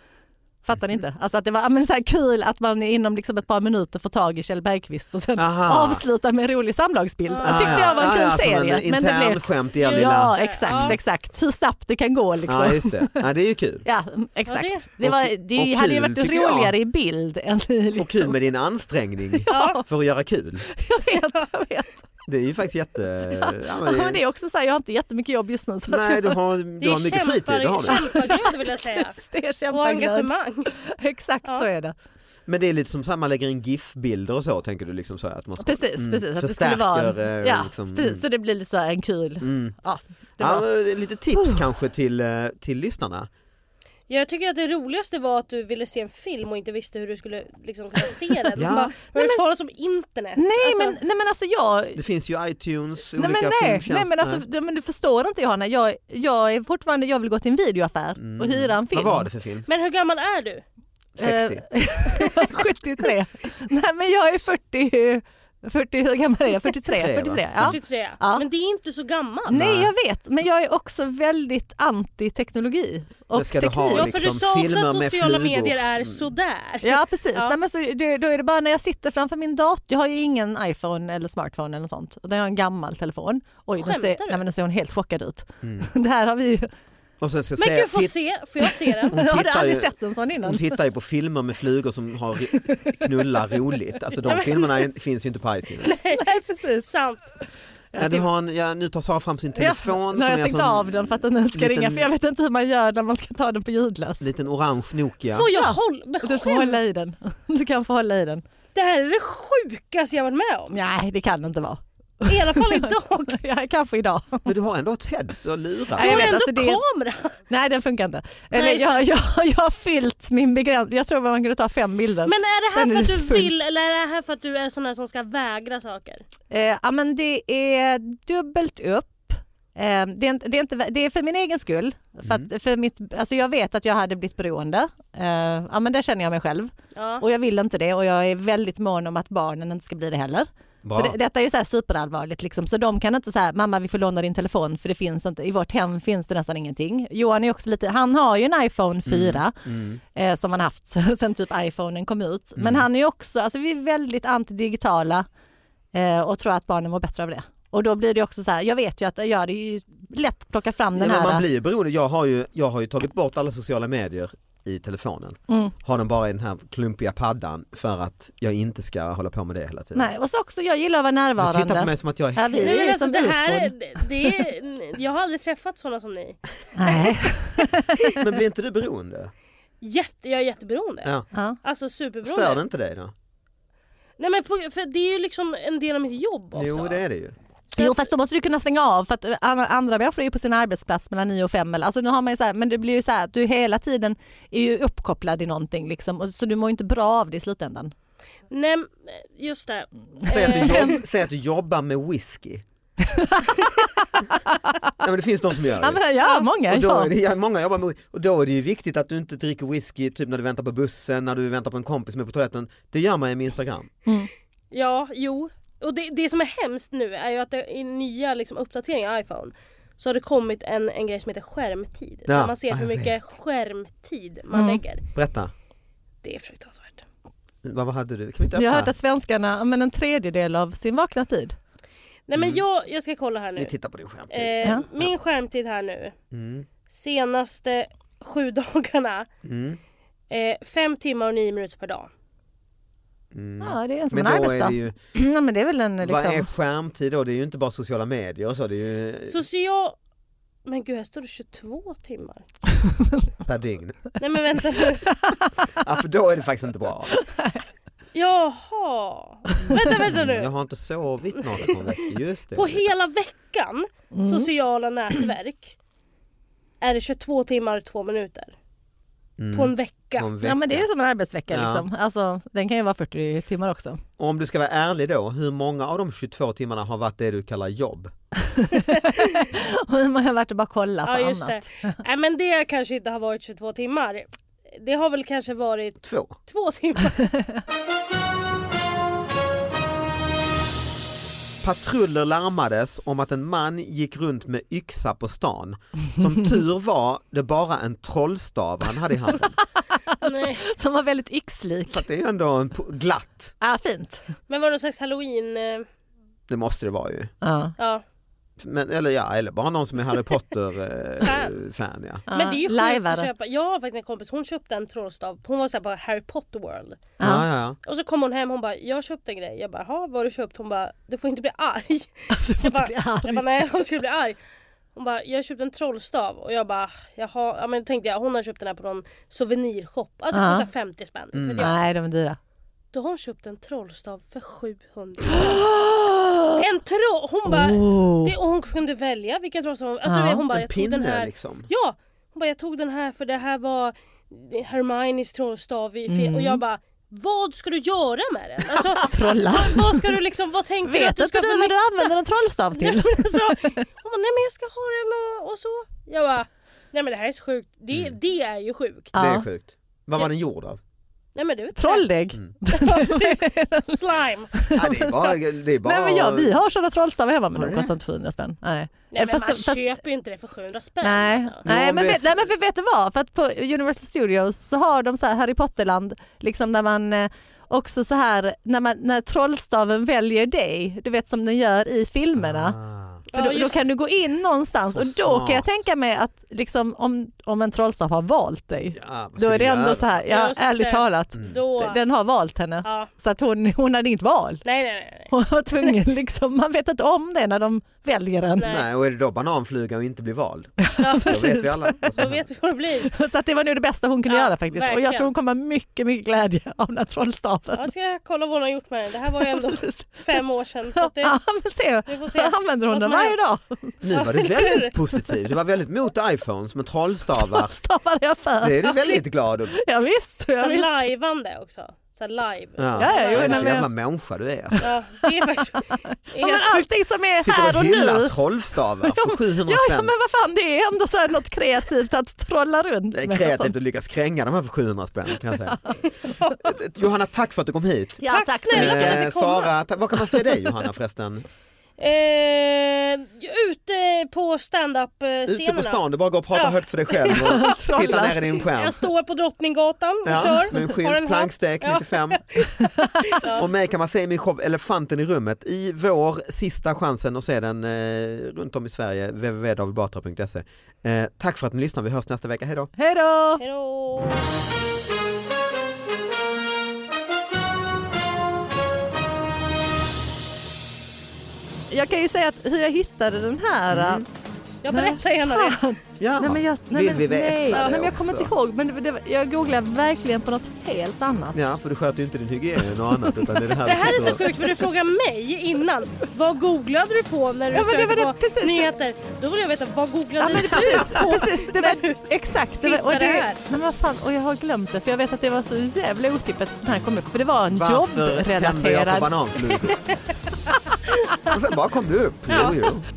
Speaker 3: Fattar ni inte? Alltså att det var ja, men så här kul att man inom liksom ett par minuter får tag i Kjell Bergqvist och sen
Speaker 2: Aha.
Speaker 3: avsluta med en rolig samlagsbild. Det
Speaker 2: Ah,
Speaker 3: tyckte jag var en
Speaker 2: ja.
Speaker 3: kul
Speaker 2: Ja, ja,
Speaker 3: serie.
Speaker 2: Som en
Speaker 3: men det
Speaker 2: intern
Speaker 3: blev,
Speaker 2: skämt i all
Speaker 3: ja
Speaker 2: lilla...
Speaker 3: exakt,
Speaker 4: Ja.
Speaker 3: exakt. Hur snabbt det kan gå liksom.
Speaker 2: Ja, just det. Ja, det är ju
Speaker 3: [LAUGHS]
Speaker 2: kul.
Speaker 3: Ja, mm, exakt.
Speaker 4: Ja,
Speaker 3: det var,
Speaker 2: Och-
Speaker 3: det
Speaker 2: och
Speaker 3: hade
Speaker 2: kul,
Speaker 3: ju varit
Speaker 2: tycker jag.
Speaker 3: roligare i bild än i liksom.
Speaker 2: Och kul med din
Speaker 3: [LAUGHS]
Speaker 2: ansträngning
Speaker 4: Ja.
Speaker 2: för att göra kul.
Speaker 3: Jag vet, jag vet.
Speaker 2: Det är ju faktiskt jätte... Ja,
Speaker 3: [LAUGHS] Ja,
Speaker 2: men det-
Speaker 3: men det är typ- också så här, jag har inte jättemycket jobb just nu så att
Speaker 2: Nej,
Speaker 3: jag,
Speaker 2: du har,
Speaker 4: Det
Speaker 2: du har
Speaker 4: är
Speaker 2: mycket fritid. Det har
Speaker 3: liksom.
Speaker 2: du.
Speaker 4: kämpaglöd vill
Speaker 3: [LAUGHS]
Speaker 4: jag säga.
Speaker 3: det är
Speaker 4: Och
Speaker 3: kämpaglöd.
Speaker 4: engagemang.
Speaker 3: Exakt
Speaker 4: Ja.
Speaker 3: så är det.
Speaker 2: Men det är lite som så här, man lägger in GIF-bilder och så, tänker du? Liksom så här, att man ska,
Speaker 3: Precis,
Speaker 2: mm,
Speaker 3: precis. Att det skulle
Speaker 2: förstärker,
Speaker 3: vara en,
Speaker 2: eh,
Speaker 3: ja,
Speaker 2: liksom, mm.
Speaker 3: precis, så det blir lite så här en kul...
Speaker 2: Mm.
Speaker 3: Ja, det
Speaker 2: Ja,
Speaker 3: var, Uh.
Speaker 2: men lite tips kanske till, eh, till lyssnarna.
Speaker 4: Jag tycker att det roligaste var att du ville se en film och inte visste hur du skulle liksom, kunna se den.
Speaker 2: Ja.
Speaker 4: ja. bara, har du hört talas om internet?
Speaker 3: nej,
Speaker 4: Alltså,
Speaker 3: men, nej men alltså jag...
Speaker 2: Det finns ju iTunes,
Speaker 3: Nej men,
Speaker 2: olika
Speaker 3: nej,
Speaker 2: filmtjänster.
Speaker 3: nej, men, alltså, nej, men du förstår inte Johanna, jag, jag är fortfarande, jag vill gå till en videoaffär och hyra en film.
Speaker 2: Mm. Vad var det för film?
Speaker 4: men hur gammal är du?
Speaker 3: [LAUGHS]
Speaker 2: 60?
Speaker 3: Eh, 73. nej men jag är 40, 40 hur gammal är jag? 43.
Speaker 2: 43, va?
Speaker 3: 43 ja.
Speaker 4: 43?
Speaker 3: Ja.
Speaker 4: Men det är inte så gammal.
Speaker 3: Nej jag vet, men jag är också väldigt anti teknologi
Speaker 2: Men
Speaker 3: och
Speaker 2: ska du
Speaker 3: teknik.
Speaker 2: ha
Speaker 4: Ja för
Speaker 2: liksom
Speaker 4: du sa också
Speaker 2: filmer
Speaker 4: att
Speaker 2: med
Speaker 4: sociala
Speaker 2: flugor.
Speaker 4: medier är
Speaker 2: Mm.
Speaker 4: sådär.
Speaker 3: Ja precis,
Speaker 4: Ja.
Speaker 3: Nej, men så, det, då är det bara när jag sitter framför min dator, jag har ju ingen iPhone eller smartphone eller något sånt, utan jag har en gammal telefon. Oj, nu ser,
Speaker 4: Skämtar du?
Speaker 3: nej, men nu ser hon helt chockad ut.
Speaker 2: Mm.
Speaker 3: [LAUGHS] Det här har vi ju,
Speaker 2: Och sen ska jag
Speaker 4: Men
Speaker 2: säga,
Speaker 4: gud, får,
Speaker 2: titt-
Speaker 4: se, får jag se
Speaker 2: [LAUGHS]
Speaker 4: den?
Speaker 2: Hon
Speaker 3: [LAUGHS] har du
Speaker 2: tittar
Speaker 3: aldrig
Speaker 2: ju-
Speaker 3: sett en sån
Speaker 2: Hon
Speaker 3: innan?
Speaker 2: tittar ju på filmer med flugor som har knullar roligt. Alltså de filmerna är- finns ju inte på iTunes.
Speaker 3: Nej precis.
Speaker 4: Sant.
Speaker 2: Ja, du har en, ja, nu tar Sara fram sin
Speaker 3: ja,
Speaker 2: telefon
Speaker 3: nu har
Speaker 2: som
Speaker 3: jag
Speaker 2: är
Speaker 3: stängt
Speaker 2: som
Speaker 3: av den för att den inte
Speaker 2: liten-
Speaker 3: ska ringa för jag vet inte hur man gör när man ska ta den på ljudlös.
Speaker 2: en liten orange Nokia.
Speaker 4: Får jag
Speaker 3: Ja.
Speaker 4: hålla? Men
Speaker 3: Du får
Speaker 4: skämt,
Speaker 3: hålla i den. [LAUGHS] Du kan få hålla i den.
Speaker 4: Det här är det sjukaste jag varit med om.
Speaker 3: Nej det kan det inte vara. [LAUGHS]
Speaker 4: I alla fall idag.
Speaker 3: Ja, kanske idag.
Speaker 2: Men du har ändå ett heads och lurar.
Speaker 3: Nej,
Speaker 4: Du
Speaker 3: jag
Speaker 4: har
Speaker 3: vet,
Speaker 4: ändå
Speaker 3: alltså det-
Speaker 4: kamera.
Speaker 3: Nej den funkar inte. Eller
Speaker 4: Nej, så-
Speaker 3: jag, [LAUGHS] jag, jag har fyllt min begränsning. Jag tror att man kunde ta fem bilder.
Speaker 4: Men är det här
Speaker 3: Den
Speaker 4: för
Speaker 3: är
Speaker 4: att du
Speaker 3: fullt.
Speaker 4: vill eller är det här för att du är sån här som ska vägra saker?
Speaker 3: Eh, ja men det är dubbelt upp. Eh, det, är inte, det, är inte, det är för min egen skull. För
Speaker 4: Mm.
Speaker 3: att, för mitt, alltså jag vet att jag hade blivit beroende. Eh, ja men där känner jag mig själv.
Speaker 4: Ja.
Speaker 3: Och jag vill inte det och jag är väldigt mån om att barnen inte ska bli det heller.
Speaker 2: Bra.
Speaker 3: Så det, detta är ju så här superallvarligt liksom. så de kan inte säga mamma vi får låna din telefon för det finns inte, i vårt hem finns det nästan ingenting. Johan är också lite, han har ju en
Speaker 4: Mm.
Speaker 3: iPhone 4
Speaker 2: Mm.
Speaker 3: Eh, som han haft [LAUGHS] sen typ iPhonen kom ut. Men han är ju också, alltså vi är väldigt antidigitala eh, och tror att barnen mår bättre av det. Och Och då blir det också så här, jag vet ju att jag hade ju lätt att plocka fram den
Speaker 2: Ja, men
Speaker 3: här.
Speaker 2: man blir ju beroende. Jag har ju, jag har ju tagit bort alla sociala medier i telefonen.
Speaker 3: Mm.
Speaker 2: Har den bara i den här klumpiga paddan för att jag inte ska hålla på med det hela tiden.
Speaker 3: Nej, och så också, jag gillar att vara
Speaker 2: Du
Speaker 3: närvarande.
Speaker 2: tittar på mig som att jag
Speaker 3: Ja,
Speaker 2: är
Speaker 3: vi-
Speaker 4: Nej,
Speaker 3: Det är
Speaker 4: men alltså,
Speaker 3: som
Speaker 4: det här,
Speaker 3: ufon.
Speaker 4: det, det är, jag har aldrig träffat sådana som ni.
Speaker 3: [LAUGHS] Nej.
Speaker 2: Men blir inte du beroende?
Speaker 4: Jätte, jag är jätteberoende.
Speaker 2: Ja.
Speaker 3: Ja.
Speaker 4: Alltså superberoende.
Speaker 2: Stör det inte dig då?
Speaker 4: Nej, men på, för det är ju liksom en del av mitt jobb också.
Speaker 2: Jo det är det ju.
Speaker 4: Så
Speaker 3: Jo
Speaker 4: att-
Speaker 3: fast då måste du kunna stänga av för att eh, an- andra människor är ju på sin arbetsplats mellan 9 och 5. Eller, alltså, nu har man ju så här, men det blir ju så här att du hela tiden är ju uppkopplad i någonting liksom, och, så du mår ju inte bra av det i slutändan.
Speaker 4: Nej, men, just det.
Speaker 2: Säg att, du
Speaker 4: Eh,
Speaker 3: Mm.
Speaker 2: jobb, säg att du jobbar med
Speaker 3: [LAUGHS]
Speaker 2: whisky. Nej, men det finns de som gör
Speaker 3: Ja,
Speaker 2: det.
Speaker 3: men, ja många.
Speaker 2: Och då
Speaker 3: Ja.
Speaker 2: är det, ja, många jobbar med, och då är det ju viktigt att du inte dricker whisky typ när du väntar på bussen, när du väntar på en kompis som är på toaletten. Det gör man ju med Instagram.
Speaker 4: Ja, jo. Och det, det som är hemskt nu är ju att det, i nya liksom, uppdateringar av iPhone så har det kommit en, en grej som heter skärmtid.
Speaker 2: Ja,
Speaker 4: där man ser
Speaker 2: ja, jag
Speaker 4: hur mycket
Speaker 2: vet. Mm.
Speaker 4: skärmtid man lägger.
Speaker 2: Berätta,
Speaker 4: Det är fruktansvärt.
Speaker 2: vad, vad hade du? Kan vi inte
Speaker 3: Vi har
Speaker 2: öppna?
Speaker 3: hört att svenskarna, ja, men en tredjedel av sin vakna tid.
Speaker 4: Nej
Speaker 2: Mm.
Speaker 4: men jag, jag ska kolla här nu.
Speaker 2: Vi tittar på din skärm.
Speaker 4: Eh,
Speaker 3: Ja.
Speaker 4: Min skärmtid här nu.
Speaker 2: Mm.
Speaker 4: Senaste sju [LAUGHS] dagarna.
Speaker 2: Mm.
Speaker 4: Eh, fem timmar och nio minuter per dag.
Speaker 2: Mm.
Speaker 3: Ja, det är en som
Speaker 2: Men
Speaker 3: en
Speaker 2: då är
Speaker 3: arbetsdag.
Speaker 2: det ju,
Speaker 3: [CLEARS THROAT] Ja, men det är väl en liksom...
Speaker 2: vad är skärmtid då? Det är ju inte bara sociala medier och så, det är ju
Speaker 4: Så, så jag... Men gud här står det 22 timmar.
Speaker 2: per dygn.
Speaker 4: Nej men vänta
Speaker 3: [LAUGHS]
Speaker 4: nu.
Speaker 2: Ja, för då är det faktiskt inte bra.
Speaker 4: Jaha. Vänta vänta
Speaker 2: Mm, jag
Speaker 4: nu.
Speaker 2: har inte sovit några veckor, just det.
Speaker 4: På hela veckan
Speaker 3: Mm.
Speaker 4: sociala nätverk är det 22 timmar och 2 minuter.
Speaker 2: Mm,
Speaker 4: På en vecka.
Speaker 2: på en
Speaker 3: Ja men det är ju
Speaker 2: vecka.
Speaker 3: som en arbetsvecka
Speaker 2: Ja.
Speaker 3: liksom. Alltså, den kan ju vara 40 timmar också. [LAUGHS]
Speaker 2: Om du ska vara ärlig då, hur många av de 22 timmarna har varit det du kallar jobb?
Speaker 3: Och man har varit och bara kollat
Speaker 4: Ja
Speaker 3: på
Speaker 4: just det.
Speaker 3: annat. [LAUGHS]
Speaker 4: Nej men det kanske inte har varit 22 timmar. Det har väl kanske varit
Speaker 2: Två.
Speaker 4: två timmar.
Speaker 3: [LAUGHS]
Speaker 2: Patruller larmades om att en man gick runt med yxa på stan. Som tur var det bara en trollstav han hade i handen.
Speaker 3: Alltså,
Speaker 4: Nej.
Speaker 3: Som var väldigt yxlik.
Speaker 2: Så att det är ju ändå en po- glatt,
Speaker 3: Ja, fint.
Speaker 4: Men var det någon slags halloween... eh,
Speaker 2: det måste det vara ju.
Speaker 3: Ja.
Speaker 4: Ja.
Speaker 2: Men, eller, ja, eller bara någon som är Harry Potter-fan. Eh, fan, ja.
Speaker 3: Ja,
Speaker 4: Men det är ju sjukt att
Speaker 3: lajvare.
Speaker 4: köpa. Jag har faktiskt en kompis, hon köpte en trollstav. Hon var så här på Harry Potter World.
Speaker 2: Ja, ja, ja.
Speaker 4: Och så kom hon hem hon bara, jag köpte en grej. Jag bara, jaha vad har du köpt? Hon bara, du får inte bli
Speaker 3: [LAUGHS]
Speaker 4: arg. jag, bara,
Speaker 3: bli arg.
Speaker 4: jag bara, nej hon skulle bli arg. Hon bara, jag köpte en trollstav och jag bara, jaha. Ja men tänkte jag, hon har köpt den här på någon souvenirshop. Alltså
Speaker 3: Ja. Mm.
Speaker 4: kostar 50 spänn. inte vet jag.
Speaker 3: Nej, de är dyra.
Speaker 4: Då har hon köpt en trollstav
Speaker 3: [GASPS]
Speaker 4: för 700 En troll! Hon bara,
Speaker 2: Oh.
Speaker 4: det, och hon kunde välja vilken trollstav hon... Alltså,
Speaker 3: Oh. Ja,
Speaker 4: hon bara,
Speaker 2: En
Speaker 4: jag tog den
Speaker 2: pinne
Speaker 4: här.
Speaker 2: liksom.
Speaker 4: Ja! Hon bara jag tog den här för det här var Hermiones trollstav i
Speaker 3: Mm.
Speaker 4: och jag bara vad ska du göra med den? Alltså, [LAUGHS]
Speaker 3: Trolla.
Speaker 4: vad, vad ska du liksom, vad tänker du att
Speaker 3: Vet
Speaker 4: du ska
Speaker 3: inte du
Speaker 4: för
Speaker 3: vad
Speaker 4: nytta?
Speaker 3: du använder en trollstav till?
Speaker 4: [LAUGHS] Alltså, hon bara nej men jag ska ha den och, och så. Jag bara nej men det här är så sjukt. Det,
Speaker 3: Mm.
Speaker 4: det är ju sjukt.
Speaker 2: Det är
Speaker 3: Ja.
Speaker 2: sjukt. Vad var den gjord av?
Speaker 4: Nej
Speaker 3: [LAUGHS]
Speaker 4: men du
Speaker 3: Trolldeg.
Speaker 2: Mm.
Speaker 3: alltså-
Speaker 4: slime.
Speaker 2: Ja, det är bara, det är bara
Speaker 3: Nej, men ja, vi har sådana trollstavar hemma men
Speaker 2: Har
Speaker 3: de
Speaker 2: du
Speaker 3: kostar inte 400 spänn. Nej.
Speaker 4: Nej men
Speaker 3: Fast-
Speaker 4: man
Speaker 3: fast-
Speaker 4: köper ju inte det för 700 [LAUGHS] spänn.
Speaker 3: Nej,
Speaker 4: Alltså.
Speaker 2: Men
Speaker 3: nej,
Speaker 2: om
Speaker 3: men,
Speaker 2: det är
Speaker 3: vet,
Speaker 2: så-
Speaker 3: nej men för vet du vad? För att på Universal Studios så har de så här Harry Potterland, liksom där man eh, också så här när, man, när trollstaven väljer dig, du vet som den gör i filmerna.
Speaker 2: Ah.
Speaker 3: För då,
Speaker 4: Ja,
Speaker 3: då
Speaker 4: just-
Speaker 3: kan du gå in någonstans
Speaker 2: Så
Speaker 3: och då kan jag
Speaker 2: smart.
Speaker 3: tänka mig att liksom, om, om en trollstav har valt dig,
Speaker 2: Ja, vad
Speaker 3: då
Speaker 2: ska
Speaker 3: är
Speaker 2: vi
Speaker 3: det ändå
Speaker 2: göra?
Speaker 3: så här, ja,
Speaker 4: Just
Speaker 3: ärligt
Speaker 4: det.
Speaker 3: talat,
Speaker 4: Då,
Speaker 3: den har valt henne.
Speaker 4: ja.
Speaker 3: Så att hon, hon hade inget val.
Speaker 4: Nej nej nej. nej.
Speaker 3: Hon var
Speaker 4: [LAUGHS]
Speaker 3: tvungen, liksom, man vet inte om det när de väljer en.
Speaker 4: Nej.
Speaker 2: Nej, och är det då bananfluga och inte bli vald?
Speaker 4: Ja,
Speaker 2: Då vet vi alla. vad som
Speaker 4: Då
Speaker 2: händer.
Speaker 4: vet vi vad det
Speaker 3: [LAUGHS]
Speaker 4: blir.
Speaker 3: Så att det var nog det bästa hon kunde
Speaker 4: Ja,
Speaker 3: göra faktiskt. Och jag
Speaker 4: verkligen.
Speaker 3: tror hon kommer ha mycket, mycket glädje av den här trollstaven.
Speaker 4: Jag ska kolla vad hon har gjort med den. Det här var
Speaker 3: [LAUGHS]
Speaker 4: ju ändå
Speaker 3: Precis.
Speaker 4: fem år sedan. Så
Speaker 3: Ja,
Speaker 4: att det,
Speaker 3: men se,
Speaker 4: vi
Speaker 3: [LAUGHS]
Speaker 4: får se.
Speaker 3: så använder hon
Speaker 4: vad
Speaker 3: den
Speaker 4: som
Speaker 3: varje
Speaker 4: har
Speaker 3: dag.
Speaker 2: Nu var du väldigt positiv. Du var väldigt mot iPhones men trollstavar.
Speaker 3: Trollstavar jag för.
Speaker 2: Det är du väldigt glad och
Speaker 3: Ja, visst, ja,
Speaker 4: Så
Speaker 3: visst.
Speaker 4: lajvande också. Så här live.
Speaker 2: Ja,
Speaker 3: Ja, ja,
Speaker 2: vad
Speaker 3: jo, nej,
Speaker 2: är
Speaker 3: men-
Speaker 2: det jävla människa du är.
Speaker 4: Ja, det är faktiskt...
Speaker 3: [LAUGHS]
Speaker 4: det [LAUGHS]
Speaker 3: Ja,
Speaker 4: är
Speaker 3: men
Speaker 4: helt sjukt.
Speaker 3: allting som är här
Speaker 2: Sitter och
Speaker 3: och
Speaker 2: hyllar
Speaker 3: nu.
Speaker 2: trollstavar för 700
Speaker 3: Ja, ja,
Speaker 2: spänn.
Speaker 3: men vad fan, det är ändå så här något kreativt att trolla runt
Speaker 2: Det är
Speaker 3: med.
Speaker 2: kreativt att lyckas kränga de här för 700 spänn kan jag säga.
Speaker 4: [LAUGHS]
Speaker 2: Johanna, tack för att du kom hit. Eh,
Speaker 3: Ja,
Speaker 4: Tack
Speaker 3: tack så
Speaker 4: snälla.
Speaker 3: mycket.
Speaker 4: för att jag fick komma.
Speaker 2: Sara, ta- var kan man se dig Johanna förresten?
Speaker 4: Eh, ute på eh, standup-scenerna.
Speaker 2: Ute på stan, du bara går och pratar
Speaker 4: Ja.
Speaker 2: högt för dig själv
Speaker 3: [LAUGHS]
Speaker 2: och tittar ner i din skärm.
Speaker 4: Jag står på Drottninggatan och
Speaker 2: Ja,
Speaker 4: kör.
Speaker 2: med en
Speaker 4: Har
Speaker 2: skylt,
Speaker 4: hatt.
Speaker 2: plankstek,
Speaker 4: Ja.
Speaker 3: [LAUGHS]
Speaker 2: 95. Och mig kan man se i min show Elefanten i rummet i vår, sista chansen att se den eh, runt om i Sverige, www.davidbatra.se. Eh, tack för att ni lyssnar, vi hörs nästa vecka, hej då!
Speaker 3: Hej då!
Speaker 4: Hejdå.
Speaker 3: Jag kan ju säga att hur jag hittade den här... äh,
Speaker 4: Jag berättar gärna det.
Speaker 2: Ja,
Speaker 3: Nej, men jag, nej,
Speaker 2: Mm. vill vi
Speaker 3: men,
Speaker 2: veta
Speaker 3: nej,
Speaker 2: det
Speaker 3: nej, men jag
Speaker 2: också?
Speaker 3: kommer inte ihåg. Men det, det, jag googlar verkligen på något helt annat.
Speaker 2: Ja, för du sköter ju inte din hygien och annat utan det är det här
Speaker 4: Det här
Speaker 2: du
Speaker 4: är
Speaker 2: sitter
Speaker 4: så
Speaker 2: och-
Speaker 4: sjukt för du frågade mig innan. Vad googlade du på när du
Speaker 3: Ja, men det
Speaker 4: sökte
Speaker 3: var det-
Speaker 4: på
Speaker 3: precis det.
Speaker 4: nyheter? Då vill jag veta, vad
Speaker 3: Ja,
Speaker 4: googlade
Speaker 3: men det, [LAUGHS] precis, precis, det var, exakt. Det var, och, det,
Speaker 4: Hittade det här.
Speaker 3: nej, men vad fan, och jag har glömt det för jag vet att det var så jävla otippat att den här kom upp. För det var en
Speaker 2: Varför tänder jag på
Speaker 3: [LAUGHS] jobbrelaterad
Speaker 2: bananflugor? och sen bara kom du upp. Jo, jo.